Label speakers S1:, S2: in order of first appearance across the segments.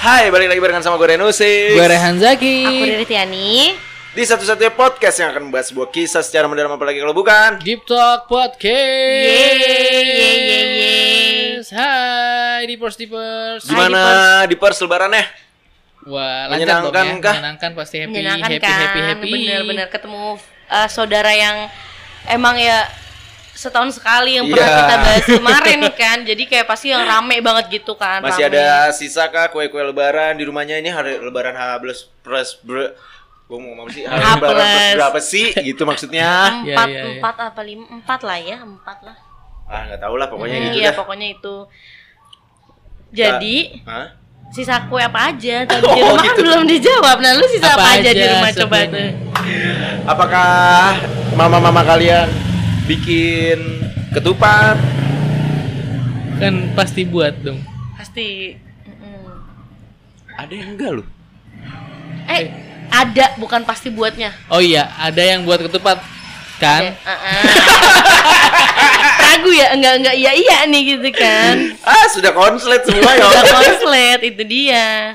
S1: Hai, balik lagi barengan sama gue Renusik
S2: Gue Rehan Zaki.
S3: Aku Riri Tiani.
S1: Di satu-satunya podcast yang akan membahas sebuah kisah secara mendalam apalagi kalau bukan
S2: Deep Talk Podcast.
S3: Yeay, yeay, yeay, yeay.
S2: Hai Deepers Deepers.
S3: Hai.
S1: Gimana di ya? pers lebarannya?
S2: Wah, lancar dong
S1: Menyenangkan
S2: ya.
S1: kah?
S2: Menyenangkan pasti happy,
S3: Menyenangkan
S2: happy,
S3: kan?
S2: happy, happy.
S3: Bener-bener ketemu uh, saudara yang emang ya setahun sekali yang pernah
S1: Iya.
S3: kita bahas kemarin kan. Jadi kayak pasti yang rame banget gitu kan.
S1: Masih
S3: rame.
S1: ada sisa kah kue-kue lebaran di rumahnya ini hari lebaran H plus plus ber gue mau ngomong sih hari
S3: H+.
S1: lebaran plus berapa sih gitu maksudnya
S2: Iya, iya,
S3: empat,
S2: iya.
S3: empat apa lima? Empat lah ya, empat lah.
S1: ah nggak tahu lah pokoknya gitu
S3: iya,
S1: dah
S3: pokoknya itu. Jadi
S1: Hah?
S3: sisa kue apa aja tadi di
S1: Oh,
S3: rumah kan
S1: gitu.
S3: belum dijawab. Nah, lu sisa
S2: Apa
S3: apa, aja, di
S2: aja
S3: rumah coba
S2: sebelumnya?
S3: tuh.
S1: apakah mama-mama kalian bikin ketupat
S2: Kan pasti buat dong.
S3: Pasti. Mm-mm.
S1: ada yang enggak loh
S3: Eh, ada bukan pasti buatnya.
S2: Oh iya, ada yang buat ketupat kan?
S3: Eh, eh, eh. Ragu ya, enggak enggak iya iya nih gitu kan.
S1: ah sudah konslet semua ya
S3: Udah konslet itu dia.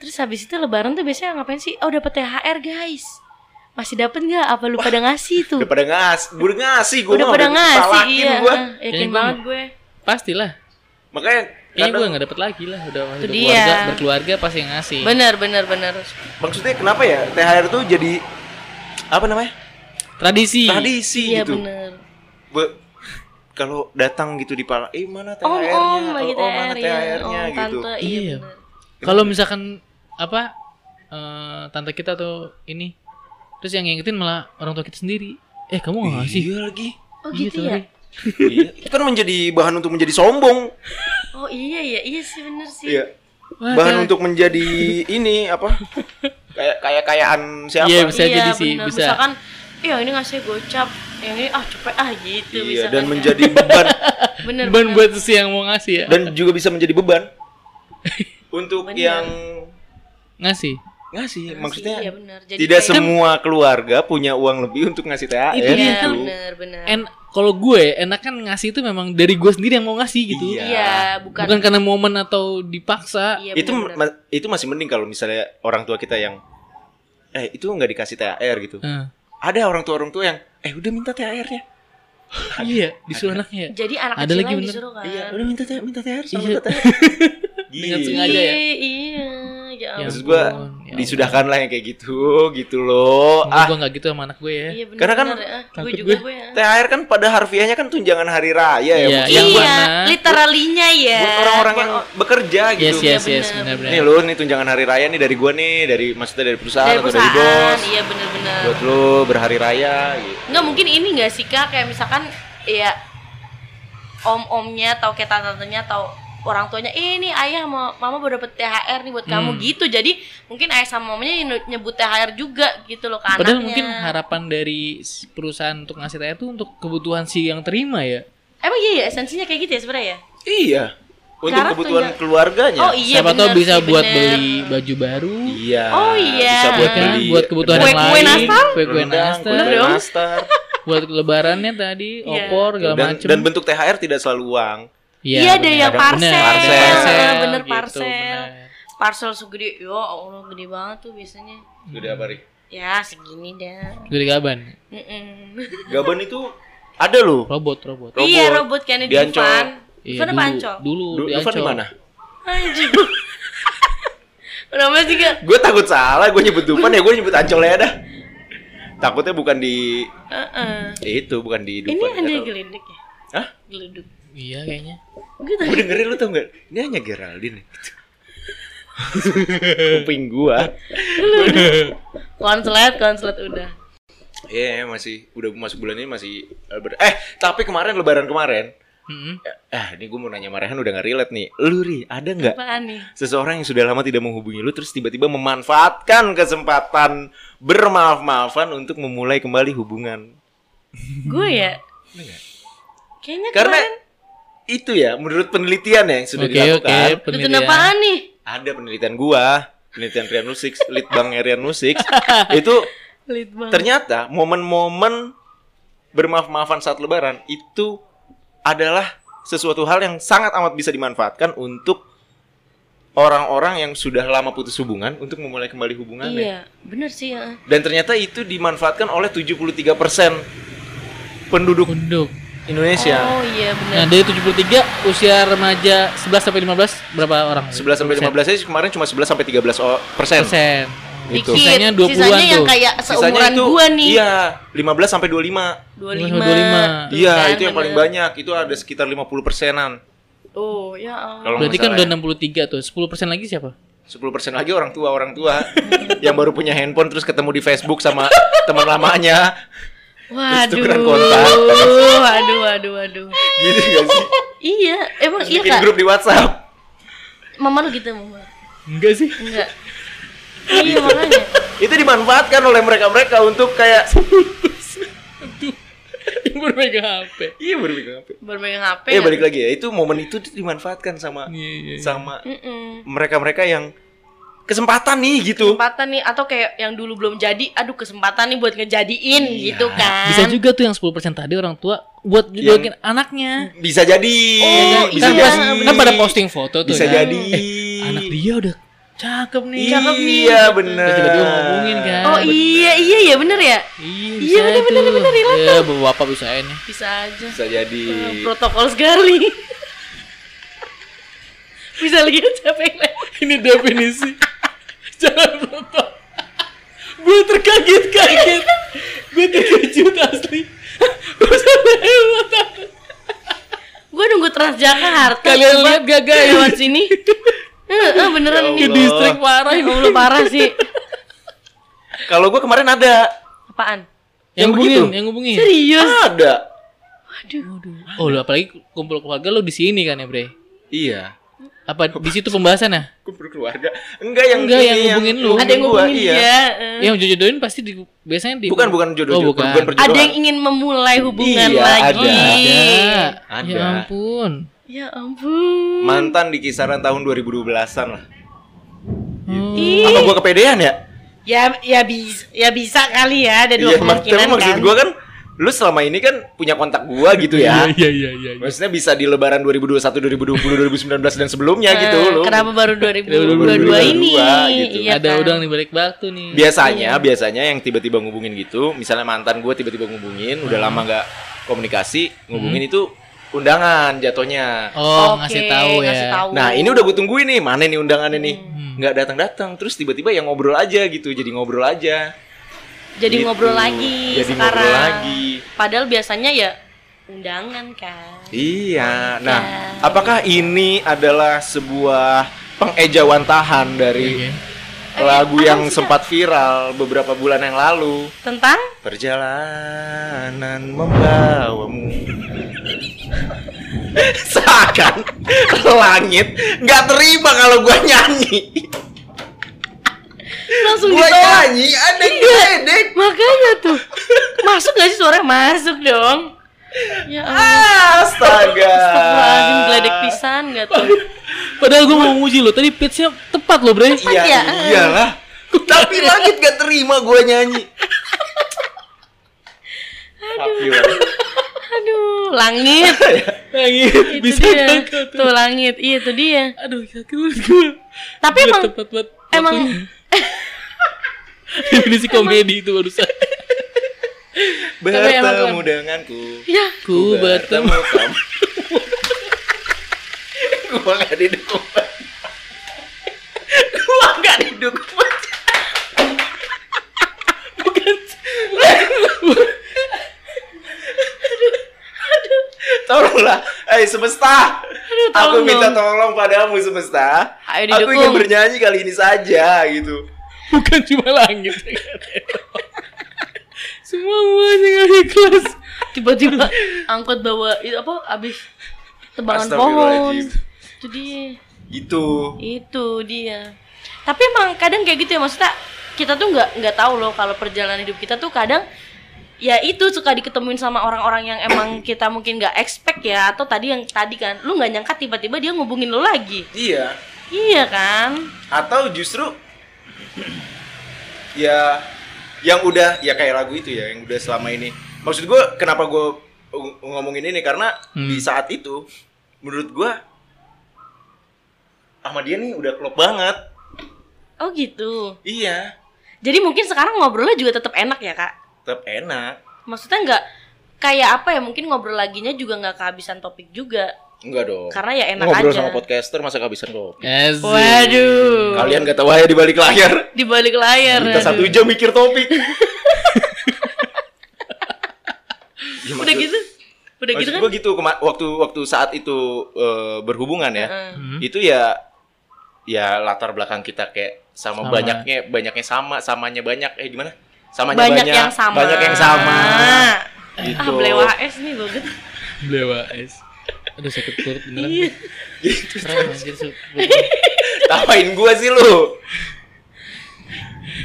S3: Terus habis itu lebaran tuh biasanya ngapain sih? Oh, dapat THR, guys. Masih dapat nggak? Apa lu pada ngasih tuh?
S1: udah pada ngasih gue udah ngasih gue
S3: Udah pada ngasih, iya.
S1: gua.
S3: eh,
S2: Kayaknya
S3: Yakin
S2: gua
S3: banget gue.
S2: Pastilah.
S1: makanya
S2: Kayaknya
S1: kadang-
S2: gue nggak dapet lagi lah. Udah masuk
S3: Itu dia.
S2: keluarga, berkeluarga pasti yang ngasih.
S3: Bener, bener, bener.
S1: Iya, maksudnya kenapa ya THR tuh jadi apa namanya
S2: Tradisi.
S1: tradisi
S3: Iya,
S1: gitu
S3: bener.
S1: Be- kalau datang gitu di pala eh mana
S3: Om,
S1: THR-nya
S3: om, lagi
S1: oh, mana
S3: THR, ya.
S1: THR-nya
S3: Om,
S1: gitu
S3: tante, iya,
S2: Iya.
S3: bener.
S2: Kalau misalkan apa eh, tante kita atau ini terus yang ngingetin malah orang tua kita sendiri. Eh, kamu nggak ngasih?
S1: iya lagi
S3: Oh, gitu
S2: Iya,
S3: ya?
S2: Ri.
S1: iya. itu kan menjadi bahan untuk menjadi sombong
S3: Oh, iya, iya. Iya sih, bener sih.
S1: iya
S2: Wah,
S1: bahan
S2: saya-
S1: untuk menjadi ini apa kayak kayak kayaan siapa
S2: Iya, bisa jadi sih, bisa.
S3: Misalkan, iya ini ngasih gocap, yang ini ah cepet ah gitu.
S1: Iya,
S3: misalkan.
S1: dan menjadi beban
S3: bener,
S2: Ban
S3: bener.
S2: buat si yang mau ngasih ya.
S1: dan juga bisa menjadi beban untuk
S3: Bener.
S1: yang
S2: Ngasih.
S1: ngasih maksudnya
S3: Iya, bener. Jadi
S1: tidak
S3: kayak-
S1: semua keluarga punya uang lebih untuk ngasih THR
S2: Itu
S3: Iya,
S1: gitu.
S3: bener, bener.
S2: En kalau gue enak kan ngasih itu memang dari gue sendiri yang mau ngasih gitu.
S1: Iya.
S3: Iya, bukan.
S2: Bukan karena momen atau dipaksa.
S3: Iya,
S1: itu
S3: bener, bener.
S1: ma- itu masih mending kalau misalnya orang tua kita yang eh itu nggak dikasih THR gitu.
S2: Eh,
S1: Ada orang tua orang tua yang eh udah minta THR-nya.
S2: iya, disuruh anaknya.
S3: Jadi anak
S2: Ada
S3: kecil
S2: lagi
S3: yang
S2: bener.
S3: disuruh kan.
S1: Iya, udah minta THR, minta THR, sama
S2: Iya.
S1: minta THR.
S2: Dengan
S1: Gila.
S2: sengaja. ya?
S3: Iya, iya. Ya
S2: Ya
S1: Maksud Gitu.
S3: ampun.
S1: gua
S2: ampun, ya ampun.
S1: disudahkan lah yang kayak gitu, gitu loh.
S2: Mungkin
S1: Ah,
S2: gue nggak gitu sama anak gue ya.
S3: Iya, bener,
S1: Karena kan
S3: bener, ya. gue
S2: takut
S3: juga
S2: gue.
S3: gue ya.
S1: THR kan pada harfiahnya kan tunjangan hari raya ya.
S2: Iya,
S1: maksudnya
S2: yang
S3: iya,
S2: mana-
S3: literalinya ya.
S1: buat orang-orang yang
S3: Buat-
S1: bekerja
S2: Yes,
S1: gitu.
S2: yes,
S3: Iya,
S2: yes,
S3: bener.
S1: Nih
S2: benar-benar.
S1: lu nih tunjangan hari raya nih dari gua nih, dari maksudnya dari perusahaan,
S3: dari
S1: atau dari
S3: perusahaan.
S1: bos.
S3: Iya, bener-bener.
S1: Buat lu berhari raya gitu.
S3: Nggak mungkin ini nggak sih kak kayak misalkan ya om-omnya atau kayak tante-tantenya atau orang tuanya "Eh, ini ayah sama mama baru dapet THR nih buat kamu
S2: Hmm.
S3: gitu jadi mungkin ayah sama mamanya ny- nyebut THR juga gitu loh ke
S2: Padahal
S3: anaknya
S2: mungkin harapan dari s- perusahaan untuk ngasih THR itu untuk kebutuhan si yang terima ya.
S3: emang iya ya esensinya kayak gitu ya sebenarnya ya
S1: Iya. Untuk
S3: Karena
S1: kebutuhan
S3: tunjang-
S1: keluarganya.
S3: oh iya
S2: Siapa
S3: bener
S2: tahu bisa
S3: sih,
S2: buat
S3: bener.
S2: beli baju baru,
S1: Iya.
S3: Oh, iya.
S1: Bisa buat
S2: ya kan?
S1: beli
S2: buat kebutuhan yang
S3: Kue-kue
S2: lain,
S3: nastar?
S2: kue-kue
S1: rendang,
S2: nastar,
S1: kue-kue
S3: dong.
S1: nastar.
S2: buat lebarannya tadi,
S3: Iya.
S2: opor segala
S1: dan,
S2: macem.
S1: dan bentuk THR tidak selalu uang.
S3: Iya, ada
S2: benar.
S3: yang
S2: Ada-
S3: parcel. Iya,
S2: benar, ada
S1: Parcel.
S2: parcel,
S3: Bener,
S2: gitu,
S3: parcel.
S2: benar.
S3: parcel segede ya allah gede banget tuh biasanya
S1: Udah apa, Rik?
S3: ya segini dah
S2: Gede gaban.
S3: Mm-mm.
S1: Gaban itu ada loh.
S2: Robot, robot.
S1: Robot.
S3: iya robot kan di
S1: Di Ancol.
S3: Dufan
S2: Iya,
S3: Dufan apa
S2: dulu-
S3: Ancol?
S2: Dulu,
S1: Lu
S2: di
S1: Dufan di
S2: Ancol.
S1: mana?
S3: Anjing. Kenapa sih kak?
S1: Gue takut salah, gue nyebut Dufan ya, gue nyebut Ancol ya dah. Takutnya bukan di
S3: Heeh.
S1: itu, bukan di Dufan.
S3: Ini
S1: nggak
S3: ada
S1: tahu.
S3: gelindek ya?
S1: Hah?
S3: Geluduk.
S1: ya.
S2: Iya kayaknya.
S3: Gue
S1: Gue
S3: tadi
S1: dengerin lu tau gak? Ini hanya Geraldine. Gitu. Kuping gua.
S3: konslet, konslet udah.
S1: Iya, masih udah masuk bulan ini masih lebar- Eh, tapi kemarin lebaran kemarin.
S2: Mm-mm.
S1: Eh, ini gue mau nanya sama Rehan udah gak relate nih. Lu Ri, ada nggak
S3: Apaan nih?
S1: seseorang yang sudah lama tidak menghubungi lu terus tiba-tiba memanfaatkan kesempatan bermaaf-maafan untuk memulai kembali hubungan?
S3: Gue ya. Kayaknya
S1: Iya. Karena
S3: kemarin.
S1: itu ya, menurut penelitian ya yang sudah
S2: Oke, oke.
S1: dilakukan,
S3: Betul
S2: penelitian.
S3: apaan nih?
S1: ada penelitian gua, penelitian Rian Musik, lead bang Rian Musik, itu
S3: Pelit banget.
S1: ternyata momen-momen bermaaf-maafan saat lebaran itu adalah sesuatu hal yang sangat amat bisa dimanfaatkan untuk orang-orang yang sudah lama putus hubungan untuk memulai kembali hubungannya.
S3: Iya, bener sih ya.
S1: Dan ternyata itu dimanfaatkan oleh 73% penduduk
S2: Unduk.
S1: Indonesia.
S3: Oh iya bener.
S2: Nah, dari 73 usia remaja 11 sampai 15 berapa orang?
S3: Oh.
S1: 11 sampai 15 aja kemarin cuma 11 sampai 13 o- persen.
S2: persen.
S1: Gitu.
S3: Dikit.
S2: Sisanya 20-an
S3: Sisanya yang
S2: tuh.
S3: kayak seumuran
S1: itu
S3: gua nih.
S1: Iya, 15 sampai 25.
S3: 25.
S2: 25.
S3: Tuh
S1: Iya,
S3: kan,
S1: itu yang paling
S3: bener.
S1: banyak. Itu ada sekitar 50 persenan.
S3: Oh, ya Allah.
S1: Kalau
S2: Berarti
S1: nggak
S2: kan
S1: salah
S2: udah 63 tuh. 10 persen lagi siapa?
S1: 10 persen lagi orang tua orang tua yang baru punya handphone terus ketemu di Facebook sama teman lamanya
S3: Waduh.
S1: tukeran kontak.
S3: Waduh, waduh, waduh.
S1: gitu gak sih
S3: Iya, emang
S1: Terus
S3: iya
S1: bikin
S3: Kak.
S1: grup di WhatsApp
S3: Mama lu gitu, Mama.
S2: Enggak sih.
S3: Enggak. iya, makanya.
S1: itu dimanfaatkan oleh mereka mereka untuk kayak
S2: Yang berpegang HP.
S1: iya berpikir apa
S3: Baru megang HP.
S1: eh
S3: nggak?
S1: balik lagi ya itu momen itu tuh dimanfaatkan sama
S2: Iya, iya. iya.
S1: sama
S3: Mm-mm.
S1: mereka mereka yang kesempatan nih gitu
S3: Kesempatan nih atau kayak yang dulu belum jadi, aduh kesempatan nih buat ngejadiin gitu kan.
S2: Iya. Bisa juga tuh yang 10% tadi orang tua buat
S1: Yang-
S2: jodohin anaknya.
S1: bisa jadi
S3: Oh,
S1: bisa
S2: kan,
S3: iya,
S2: pas-
S1: jadi
S2: kan pada posting foto tuh
S1: bisa
S2: kan.
S1: jadi
S2: Eh, anak dia udah cakep nih.
S3: Cakep nih.
S1: iya
S3: Terus
S1: bener
S2: Terus tiba-tiba ngomongin kan.
S3: Oh iya, iya iya bener ya.
S2: Iya,
S3: bener,
S2: bener bener bener Iya, bapak bisa ini.
S3: Bisa aja.
S1: bisa jadi
S3: Protokol sekali. Bisa lihat siapa yang lewat.
S2: Ini definisi Jangan protokol Gue terkaget-kaget Gue terkejut asli Bisa lewat
S3: Gue nunggu Transjakarta.
S2: Kalian
S3: Coba
S2: lihat gak guys
S3: lewat sini. Eh, eh, beneran
S1: Ya
S3: ini.
S2: Ke distrik parah
S3: Ya
S2: ini
S3: Allah, parah sih.
S1: kalau gue kemarin ada
S3: Apaan?
S2: Yang
S1: Yang
S2: hubungin,
S1: begitu.
S2: yang hubungin
S3: Serius?
S1: ada
S3: Waduh.
S2: Oh lu apalagi kumpul keluarga lu di sini kan ya bre
S1: Iya.
S2: Apa di situ pembahasan ya?
S1: Kumpul keluarga. Enggak yang
S2: Enggak, yang hubungin lu.
S3: Ada yang
S1: gua,
S3: ngomongin
S1: iya.
S3: dia. eh.
S2: Yang jodohin pasti di, biasanya di
S1: Bukan bukan jodoh
S2: Oh
S1: jodoh,
S2: bukan Oh,
S1: bukan perjodohan.
S3: Ada yang ingin memulai hubungan
S1: Iya,
S3: lagi.
S2: Ada
S1: Ada.
S2: Ya ampun
S3: Ya ampun.
S1: mantan di kisaran tahun 2012-an lah.
S2: Hmm.
S1: Apa gua kepedean ya?
S3: Ya ya bisa ya bisa kali ya ada dua
S1: Iya, mak- tapi
S3: kemungkinan
S1: maksud
S3: kan.
S1: gua kan lu selama ini kan punya kontak gua gitu ya.
S2: Iya iya iya iya.
S1: Maksudnya bisa di lebaran 2021, 2020, 2019 dan sebelumnya
S3: Eh,
S1: gitu lu.
S3: Kenapa baru
S1: 2022
S3: 2022 ini?
S1: gitu.
S3: Iya
S2: Ada
S3: kan?
S2: udang di balik batu nih
S1: Biasanya, biasanya yang tiba-tiba ngubungin gitu, misalnya mantan gua tiba-tiba ngubungin, udah lama nggak komunikasi, ngubungin itu undangan jatuhnya.
S2: Oh
S3: Oke,
S2: ngasih tahu ya
S3: ngasih tahu.
S1: Nah ini udah gue tungguin nih Mana nih undangannya nih
S2: Hmm.
S1: nggak datang datang Terus tiba-tiba yang ngobrol aja gitu Jadi ngobrol aja
S3: jadi
S1: Gitu.
S3: ngobrol lagi
S1: Jadi
S3: sekarang.
S1: ngobrol lagi
S3: Padahal biasanya ya undangan kan.
S1: Iya
S3: Oke.
S1: Nah apakah ini adalah sebuah pengejawantahan
S2: Iya.
S1: dari
S3: Eh,
S1: Lagu
S3: apa
S1: yang
S3: sih, Kak?
S1: sempat viral beberapa bulan yang lalu
S3: Tentang
S1: Perjalanan membawamu Seakan langit nggak terima kalau gua nyanyi
S3: langsung
S1: Gua
S3: ditolak.
S1: nyanyi ada
S3: Iya.
S1: gedek
S3: Makanya tuh. Masuk gak sih suara masuk dong? Ya
S1: Ah,
S3: Allah.
S1: Astaga. Iya,
S3: Astagfirullahaladzim geledek pisan gak tuh?
S2: Padahal gue mau muji lo, tadi pitch-nya tepat lo bre
S1: Iya,
S3: ya?
S1: iyalah. Tapi langit gak terima gue nyanyi. Tapi lah.
S3: Aduh, langit.
S2: Lagi
S3: itu
S2: bisa
S3: dia.
S2: kakak tuh
S3: Tuh langit. Iya, itu dia.
S2: Aduh sakit banget gue
S3: Tapi
S2: Gila,
S3: emang
S2: tepat banget
S3: emang
S2: waktunya. Definisi komedi itu barusan emang
S1: Bertemu
S2: keren.
S1: denganku.
S3: ya
S2: Ku bertemu
S1: kamu. gue gak didukung. gue gak didukung. Tolonglah, eh semesta. Aku
S3: tolong
S1: minta
S3: dong.
S1: tolong padamu semesta.
S3: Ayo
S1: Aku ingin
S3: didukung.
S1: bernyanyi kali ini saja gitu.
S2: Bukan cuma langit ya kan? Semua muanya gak ikhlas
S3: tiba-tiba angkot bawa itu apa abis tebangan pohon.
S1: Astagfirullahaladzim.
S3: Itu dia.
S1: Gitu.
S3: Itu dia. Tapi emang kadang kayak gitu ya maksudnya kita tuh nggak nggak tahu loh kalau perjalanan hidup kita tuh kadang ya itu suka diketemuin sama orang-orang yang emang kita mungkin nggak expect ya atau tadi yang tadi kan lu nggak nyangka tiba-tiba dia ngubungin lu lagi
S1: Iya.
S3: iya kan
S1: Atau justru ya yang udah ya kayak lagu itu ya yang udah selama ini. Maksud gue kenapa gue ngomongin ini karena
S2: Hmm.
S1: di saat itu menurut gue sama dia nih udah klop banget.
S3: Oh gitu.
S1: Iya,
S3: Jadi mungkin sekarang ngobrolnya juga tetap enak ya kak.
S1: tetap enak.
S3: Maksudnya nggak kayak apa ya? Mungkin ngobrol laginya juga nggak kehabisan topik juga.
S1: Enggak dong.
S3: Karena ya enak
S1: Oh. Ngobrol
S3: aja.
S1: sama podcaster masa kehabisan kopi.
S2: Asik.
S3: Waduh.
S1: Kalian gak tahu aja di balik layar.
S3: Di balik layar.
S1: Kita
S3: aduh.
S1: satu jam mikir topik. Ya,
S3: Udah
S1: maksud-
S3: gitu. Udah gitu
S1: maksud
S3: kan.
S1: gua gitu kema- waktu waktu saat itu eh, berhubungan ya.
S3: Heeh.
S2: Hmm.
S1: Itu ya ya latar belakang kita kayak sama,
S2: Sama.
S1: banyaknya banyaknya sama samanya banyak eh gimana? Samanya
S3: Banyak, yang sama.
S1: Banyak yang sama.
S3: Ah,
S1: Gitu.
S3: belewa es nih banget.
S2: Blewa es. Aduh sakit perut beneran.
S3: Iya.
S2: Serem anjir sakit perut.
S1: Gitu. Tawain gua sih lu.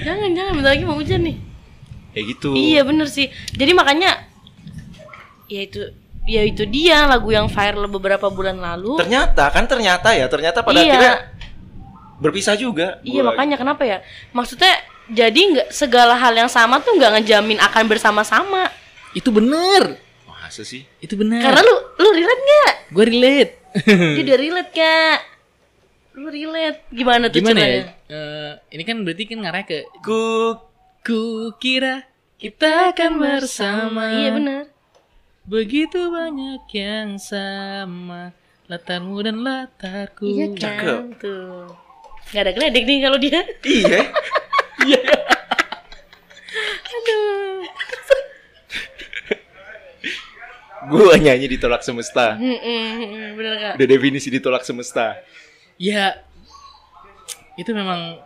S3: Jangan jangan bentar lagi mau hujan nih.
S1: Ya gitu.
S3: Iya bener sih. Jadi makanya ya itu ya itu dia lagu yang viral beberapa bulan lalu.
S1: Ternyata kan ternyata ya, ternyata pada
S3: Iya.
S1: akhirnya berpisah juga.
S3: Iya
S1: Gua-
S3: makanya kenapa ya? Maksudnya jadi nggak segala hal yang sama tuh nggak ngejamin akan bersama-sama.
S2: Itu bener.
S1: Masa sih?
S2: Itu bener.
S3: Karena lu lu relate nggak?
S2: gue relate. Hmm.
S3: Jadi relate kak. Lu relate gimana tuh
S2: Gimana ya?
S3: caranya?
S2: Eh, ini kan berarti kan ngarah ke
S1: Ku
S2: ku kira kita akan bersama.
S3: Iya bener.
S2: Begitu banyak yang sama latarmu dan latarku.
S3: Iya kan
S1: Cakep.
S3: tuh. Gak ada geledek nih kalau dia.
S1: iya.
S3: Aduh.
S1: Gua nyanyi ditolak semesta.
S3: Mm, mm, mm, Bener kak.
S1: Udah definisi ditolak semesta.
S2: Ya itu memang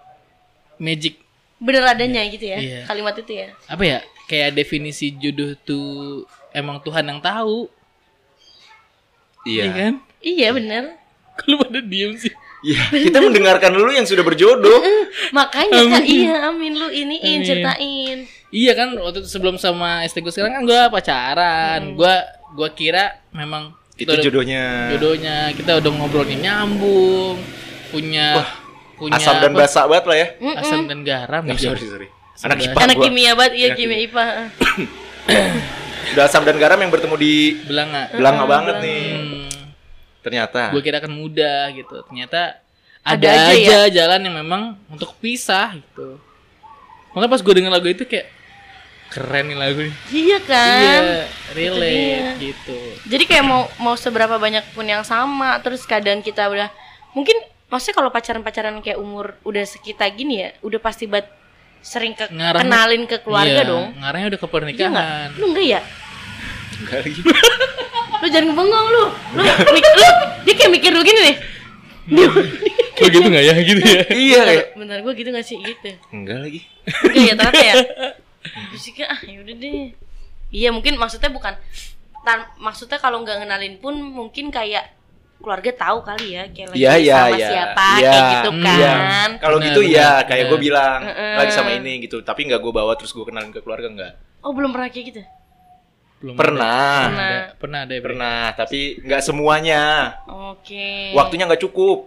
S2: magic
S3: Bener adanya gitu ya.
S2: Iya.
S3: Kalimat itu ya.
S2: apa ya? Kayak definisi jodoh tuh emang Tuhan yang tahu,
S1: Iya.
S2: ya kan?
S3: Iya bener.
S2: Kalau pada diem sih.
S1: Iya, kita mendengarkan dulu yang sudah berjodoh.
S3: Makanya kak
S2: Amin.
S3: iya amin lu
S2: Amin.
S3: iniin ceritain.
S2: Iya kan waktu itu sebelum sama ST gue sekarang kan gue pacaran. Gue gua kira memang
S1: Itu
S2: kita udah-
S1: jodohnya.
S2: jodohnya kita udah ngobrolnya nyambung, punya punya
S1: Asam dan
S2: apa?
S1: basah banget lah ya.
S3: Mm-mm.
S2: asam dan garam
S1: Oh,
S2: ya.
S1: sorry, sorry. Anak
S2: Asam
S1: IPA
S3: Anak
S1: gua.
S3: kimia banget iya
S1: Anak
S3: kimia IPA.
S1: Udah asam dan garam yang bertemu di
S2: Belanga.
S3: Mm.
S1: belanga banget nih.
S2: Hmm.
S1: Ternyata.
S2: gue kira akan mudah gitu ternyata ada,
S3: Ada aja ya?
S2: aja, jalan yang memang untuk pisah gitu makanya pas gue denger lagu itu kayak keren nih lagu nih
S3: Iya kan.
S2: iya relate
S3: dia.
S2: gitu
S3: Jadi kayak mau mau seberapa banyak pun yang sama terus keadaan kita udah mungkin maksudnya kalau pacaran-pacaran kayak umur udah sekitar gini ya udah pasti bat sering ke
S2: Ngarahnya-
S3: kenalin ke keluarga
S2: Iya,
S3: dong.
S2: ngarahnya udah ke
S3: Iya nggak?
S2: pernikahan
S3: Lu enggak ya?
S1: Enggak lagi.
S3: Lu jangan ngebengong lu. Lu, mik- lu dia kayak mikir lu gini nih.
S2: oh gitu nggak ya gitu ya
S1: iya kayak.
S3: Bentar gua gitu gak sih gitu.
S1: Enggak lagi.
S3: Enggak ya ternyata ya. Terus sih kayak, ah yaudah deh. Iya mungkin maksudnya bukan tan- maksudnya kalau nggak ngenalin pun mungkin kayak keluarga tahu kali ya kayak lagi
S1: Iya, iya,
S3: sama
S1: iya.
S3: siapa
S1: Iya,
S3: kayak gitu
S2: hmm,
S3: kan.
S2: iya.
S1: Kalau
S2: Bener,
S1: gitu
S2: bener,
S1: ya, kayak gue
S2: bener.
S1: bilang
S3: Heeh.
S1: lagi sama ini gitu, tapi nggak gue bawa terus gue kenalin ke keluarga nggak.
S3: Oh belum pernah kayak gitu.
S2: Belum ada.
S1: Pernah,
S2: pernah ada pernah ada ya, Bre?
S1: pernah, tapi nggak semuanya.
S3: Oke.
S1: Waktunya nggak cukup.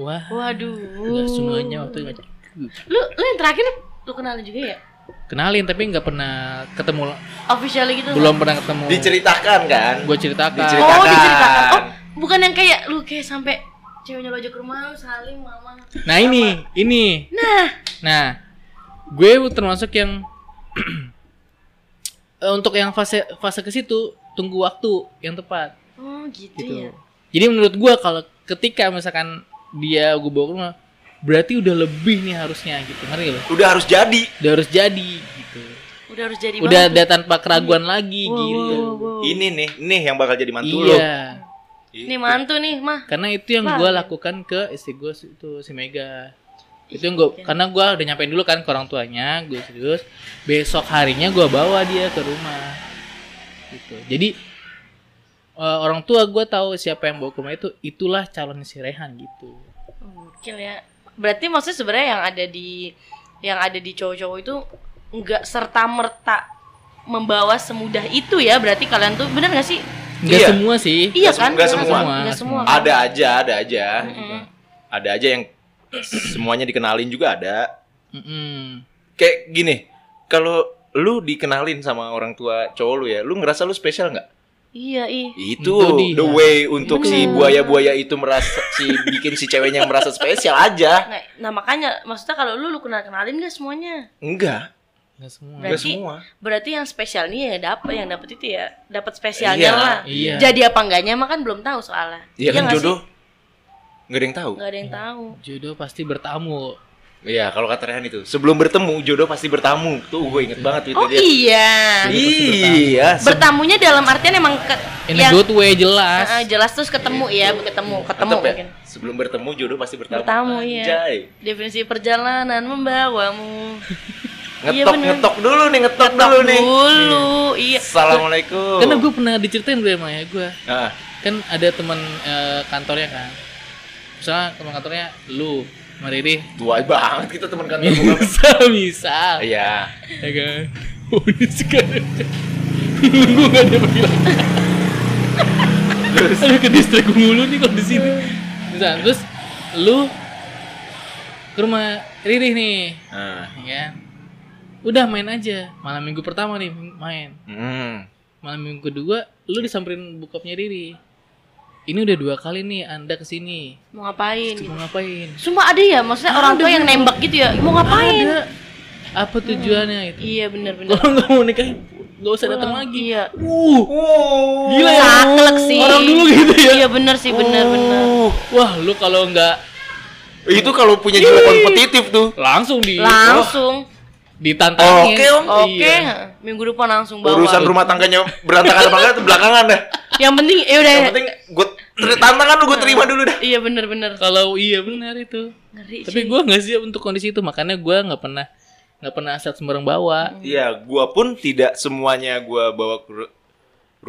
S2: wah
S3: Waduh.
S2: nggak semuanya waktu itu nggak-
S3: Lu lu yang terakhir lu kenalin juga ya?
S2: kenalin tapi nggak pernah ketemu
S3: Officially gitu.
S2: belum pernah ketemu
S1: Diceritakan kan?
S2: gue ceritakan
S1: Diceritakan.
S3: Oh diceritakan. Oh bukan yang kayak lu kayak sampai ceweknya lo aja ke rumah lu salim mama.
S2: nah ini ini
S3: Nah.
S2: Nah, gue termasuk yang Eh, untuk yang fase fase ke situ tunggu waktu yang tepat
S3: Oh gitu,
S2: gitu.
S3: ya.
S2: Jadi menurut gue kalau ketika misalkan dia gue bawa ke rumah, berarti udah lebih nih harusnya gitu, ngerti gak lo?
S1: Udah harus jadi.
S2: Udah harus jadi gitu.
S3: Udah harus jadi
S2: Udah
S3: banget. Iya.
S2: ada tanpa keraguan lagi
S3: Wow,
S2: gitu.
S3: wow, wow.
S1: Ini nih, nih yang bakal jadi mantu lo.
S2: Iya.
S1: Gitu.
S3: Nih mantu nih, mah.
S2: Karena itu yang
S3: Wah.
S2: gue lakukan ke istri gue itu si Mega. Itu yang gue, karena gue udah nyampein dulu kan ke orang tuanya, gue serius. Besok harinya gue bawa dia ke rumah. Gitu. Jadi eh, orang tua gue tahu siapa yang bawa ke rumah itu, itulah calon si Rehan gitu.
S3: Gokil ya. Berarti maksudnya sebenarnya yang ada di yang ada di cowok-cowok itu nggak serta merta membawa semudah itu ya berarti kalian tuh bener gak sih
S2: Enggak
S1: Iya.
S2: semua sih.
S3: iya
S1: Nggak
S3: kan
S1: sem- nggak
S3: Karena
S1: semua.
S3: nggak semua kan?
S1: Ada aja, ada aja.
S3: Mm-mm.
S1: Ada aja yang semuanya dikenalin juga ada.
S2: Mm-mm.
S1: Kayak gini, kalau lu dikenalin sama orang tua cowok lu ya, lu ngerasa lu spesial nggak?
S3: Iya, ih.
S1: Itu
S2: Itu dia. Iya.
S1: the way untuk si
S3: Bener.
S1: buaya-buaya itu merasa si bikin si ceweknya merasa spesial aja.
S3: Nah, nah, makanya maksudnya kalau lu lu kenal kenalin gak semuanya?
S1: Enggak,
S2: Nggak semua.
S1: enggak
S3: Berarti-
S1: semua.
S3: Berarti yang spesialnya ya dapat, yang dapat itu ya dapat spesialnya
S1: Iya.
S3: lah.
S2: Iya.
S3: Jadi apa enggaknya mah kan belum tahu soalnya.
S1: Iya kan
S3: nggak sih?
S1: jodoh. Enggak ada yang tahu.
S3: Nggak ada yang tahu.
S2: Jodoh pasti bertamu.
S1: Iya, kalau kata Rehan itu, sebelum bertemu jodoh pasti bertamu. Tuh gue inget banget tweetnya
S3: Oh iya.
S2: Jodoh pasti
S1: Iya, se-
S3: Bertamunya dalam artian emang ke,
S2: In a
S3: ya
S2: good way jelas.
S3: Iya. Heeh, Ah, jelas terus ketemu
S2: Iya,
S3: ya, ketemu, ketemu
S1: mantap ya.
S3: mungkin.
S1: Sebelum bertemu jodoh pasti bertamu.
S3: Bertamu, iya.
S1: Anjay.
S3: Definisi perjalanan membawamu. Iya,
S1: Ngetok
S3: bener.
S1: ngetok dulu nih, ngetok, dulu nih.
S3: Dulu, iya.
S1: Assalamualaikum.
S2: Karena gue pernah diceritain gue sama ya gue.
S1: Ah,
S2: Kan ada teman eh, kantornya kan. Misalnya teman kantornya lu, Mariri.
S1: tua banget kita teman kantor.
S3: Iya.
S1: gua.
S2: Misal, misal.
S1: Iya.
S2: Ya kan. Oh, ini sekarang. Gue gak ada panggilan.
S1: Terus
S2: Aduh ke distrik mulu nih kalau di sini. Misal, terus lu ke rumah Riri nih,
S1: ah,
S2: ya kan? Udah main aja. Malam minggu pertama nih main.
S1: hmm.
S2: Malam minggu kedua lu disamperin bokapnya Riri. Ini udah dua kali nih Anda kesini.
S3: Mau ngapain?
S2: Mau
S3: Gitu.
S2: ngapain?
S3: Sumpah ada ya, maksudnya orang tua yang nembak gitu ya. Mau ngapain?
S2: Ada. Apa tujuannya itu?
S3: Iya, bener-bener.
S2: Kalau nggak mau nikahin, nggak usah datang lagi.
S3: Iya.
S2: Uh,
S1: Wow.
S2: gila ya.
S3: Saklek sih.
S2: Orang dulu gitu ya.
S3: Iya bener sih, bener-bener.
S1: Oh.
S2: Wah, lu kalau nggak
S1: Itu kalau punya jiwa kompetitif tuh.
S2: langsung di
S3: Langsung.
S2: ditantangin.
S1: Oke, Om.
S2: Iya.
S3: Oke, minggu depan langsung bawa.
S1: Urusan rumah tangganya berantakan apa enggak itu belakangan dah.
S3: Yang penting ya udah.
S2: Iya,
S1: Yang penting gue tantangan lu gue terima dulu dah.
S3: Iya bener-bener.
S2: Kalau iya benar itu.
S3: Ngeri
S2: Tapi
S3: sih.
S2: gua nggak siap untuk kondisi itu, makanya gua nggak pernah nggak pernah asal sembarang bawa.
S1: Iya, gua pun tidak semuanya gua bawa ke ru-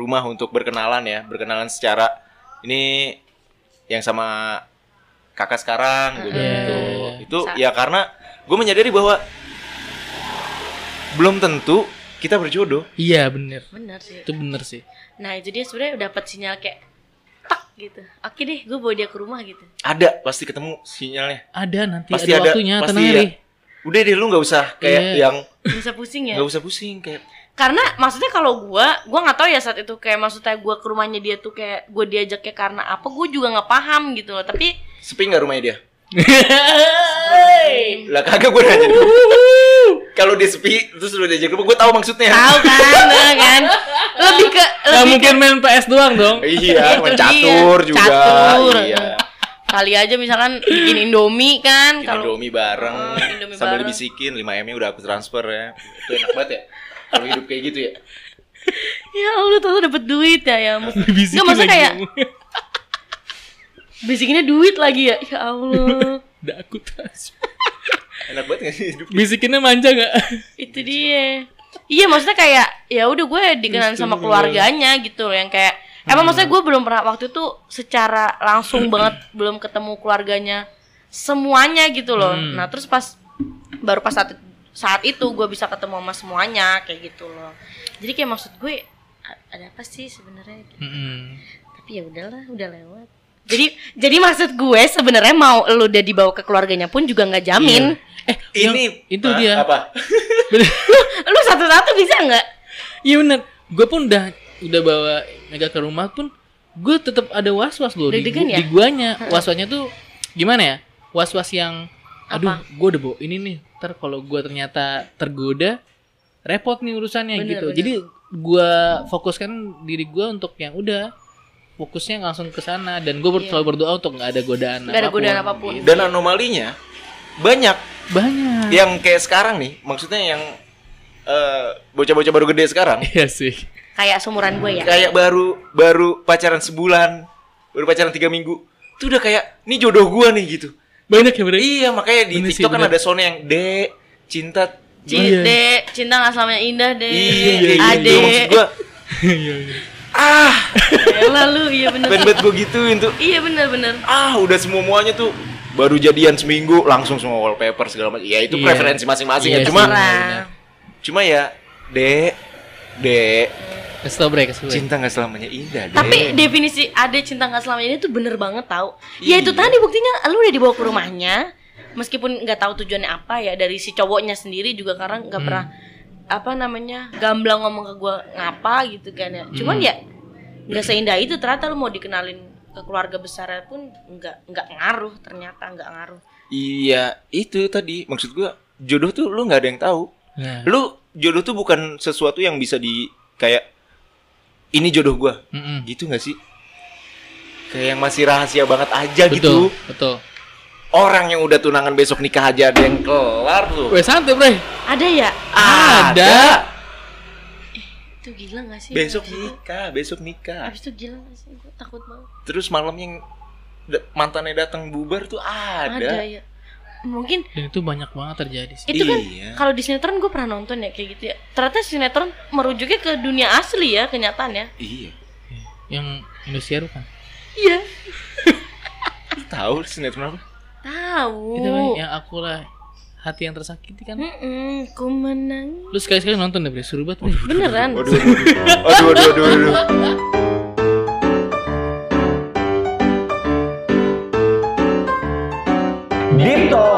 S1: rumah untuk berkenalan ya, berkenalan secara ini yang sama kakak sekarang gua bilang
S2: Iya.
S1: gitu. Itu
S3: Sa-
S1: ya karena gue menyadari bahwa belum tentu kita berjodoh.
S2: Iya bener.
S3: Bener sih.
S2: Itu bener sih.
S3: Nah itu dia sebenarnya dapat sinyal kayak tak gitu. Oke deh, gue bawa dia ke rumah gitu.
S1: Ada pasti ketemu sinyalnya.
S2: Ada nanti
S1: Pasti
S2: ada,
S1: ada,
S2: waktunya,
S1: pasti
S2: tenang
S1: ya.
S2: Ri.
S1: Udah deh lu nggak usah kayak
S2: Iya.
S1: yang
S3: Bisa pusing ya.
S1: nggak usah pusing kayak
S3: Karena maksudnya kalau gue, gue nggak tahu ya saat itu kayak maksudnya gue ke rumahnya dia tuh kayak gue diajaknya karena apa? Gue juga nggak paham gitu loh. Tapi
S1: sepi nggak rumahnya dia? Lah kagak gue nanya. Kalau dia sepi terus lu diajak ke rumah gue tahu maksudnya.
S2: Ah,
S3: tahu kan, bener kan? Lebih ke
S2: Nggak
S3: lebih
S2: mungkin main PS doang dong.
S1: Iya,
S3: Itu
S1: main catur
S3: dia,
S1: juga.
S3: catur.
S1: Iya.
S3: kali aja misalkan bikin Indomie kan
S1: Bikin
S3: kalau
S1: Indomie bareng
S3: Oh, Indomie
S1: sambil
S3: bareng.
S1: dibisikin 5M-nya udah aku transfer ya. Itu enak banget ya. Kalau hidup kayak gitu ya.
S3: ya Allah tuh dapat duit ya ya.
S2: Dibisikin
S3: Nggak, maksudnya
S2: lagi
S3: kayak-
S2: kamu.
S3: Bisikinnya duit lagi ya. Ya Allah.
S2: Udah aku transfer.
S1: Enak banget gak sih hidup?
S2: Bisikinnya manja nggak?
S3: itu dia iya maksudnya kayak ya udah gue dikenalin sama keluarganya gitu loh yang kayak emang maksudnya
S2: Hmm.
S3: gue belum pernah waktu itu secara langsung banget belum ketemu keluarganya semuanya gitu loh
S2: Hmm.
S3: nah terus pas baru pas saat saat itu gue bisa ketemu sama semuanya kayak gitu loh jadi kayak maksud gue "A- ada apa sih sebenarnya
S2: Mm-mm.
S3: tapi ya udahlah udah lewat jadi jadi maksud gue sebenarnya mau lu udah dibawa ke keluarganya pun juga nggak jamin
S2: Eh,
S1: Ini
S2: yang- itu
S1: Hah?
S2: dia.
S1: Apa?
S3: lu satu-satu bisa nggak
S2: Iya bener. Gue pun udah udah bawa Mega ke rumah pun gue tetap ada was was loh di,
S3: Deg-degan
S2: gu-
S3: ya?
S2: di guanya. Was wasnya tuh gimana ya? Was was yang aduh
S3: Apa?
S2: gue udah bawa ini nih. Ntar kalau gue ternyata tergoda repot nih urusannya
S3: Bener,
S2: gitu.
S3: bener.
S2: Jadi gue fokuskan diri gue untuk yang udah fokusnya langsung ke sana dan gue
S3: Iya.
S2: selalu berdoa untuk nggak ada godaan
S3: nggak ada
S2: Nah, apapun. Iya.
S3: godaan apapun
S1: Dan anomalinya banyak
S2: banyak
S1: yang kayak sekarang nih, maksudnya yang eh, bocah-bocah baru gede sekarang
S2: Iya sih
S3: kayak seumuran gue ya
S1: kayak baru baru pacaran sebulan, baru pacaran tiga minggu. Itu udah kayak ini jodoh gua nih gitu.
S2: banyak ya berarti
S1: Iya, makanya di
S2: Bener sih,
S1: TikTok kan
S2: bener.
S1: ada zona yang D cinta
S3: cinta
S2: Iya.
S3: cinta nggak selamanya indah deh
S1: Iya, kayak gitu.
S3: ade
S1: maksud gua.
S2: Iya, iya.
S1: Ah,
S3: lalu iya bener
S1: pengen banget gua gituin tuh.
S3: iya bener bener
S1: Ah, udah semua muanya tuh baru jadian seminggu langsung semua wallpaper segala macam. Ya itu
S2: Iya.
S1: preferensi masing-masing
S2: Iya
S1: ya. Cuma
S2: sih.
S3: Parah.
S1: cuma ya D D
S2: Kasih tau break, kasih tau break.
S1: cinta nggak selamanya indah. Dek.
S3: tapi definisi ade cinta nggak selamanya ini tuh bener banget tau ya itu
S1: Iya.
S3: tadi buktinya lu udah dibawa ke rumahnya meskipun nggak tahu tujuannya apa ya dari si cowoknya sendiri juga karena nggak
S1: Hmm.
S3: pernah apa namanya gamblang ngomong ke gue ngapa gitu kan ya cuman
S2: Hmm.
S3: ya nggak seindah itu ternyata lu mau dikenalin ke keluarga besarnya pun nggak nggak ngaruh ternyata nggak ngaruh
S1: Iya, itu tadi maksud gua jodoh tuh lu nggak ada yang tahu.
S2: Nah.
S1: Lu jodoh tuh bukan sesuatu yang bisa di kayak ini jodoh gua.
S2: Mm-mm.
S1: Gitu nggak sih? Kayak yang masih rahasia banget aja gitu.
S2: Betul, betul.
S1: Orang yang udah tunangan besok nikah aja ada yang kelar tuh.
S2: Weh santai, Bre.
S3: ada ya
S2: Ada.
S3: itu gila nggak sih
S1: Besok
S3: Abis itu-
S1: nikah, besok nikah.
S3: abis itu gila nggak sih gue takut banget
S1: Terus malam yang da- mantannya datang bubar tuh
S3: ada,
S1: ada.
S3: ya mungkin
S2: Dan itu banyak banget terjadi sih.
S3: itu kan
S1: Iya.
S3: kalau di sinetron gue pernah nonton ya kayak gitu ya ternyata sinetron merujuknya ke dunia asli ya kenyataannya
S1: Iya.
S2: Yang Indosiar kan.
S3: iya
S1: Lu tahu sinetron apa?
S3: tahu
S2: Itu kan yang aku lah hati yang tersakiti kan.
S3: Mm-mm, ku menang
S2: Lu sekali-sekali nonton deh, Bre. Seru banget, Bre.
S3: beneran
S1: Waduh, waduh, waduh, waduh, waduh.
S4: Dito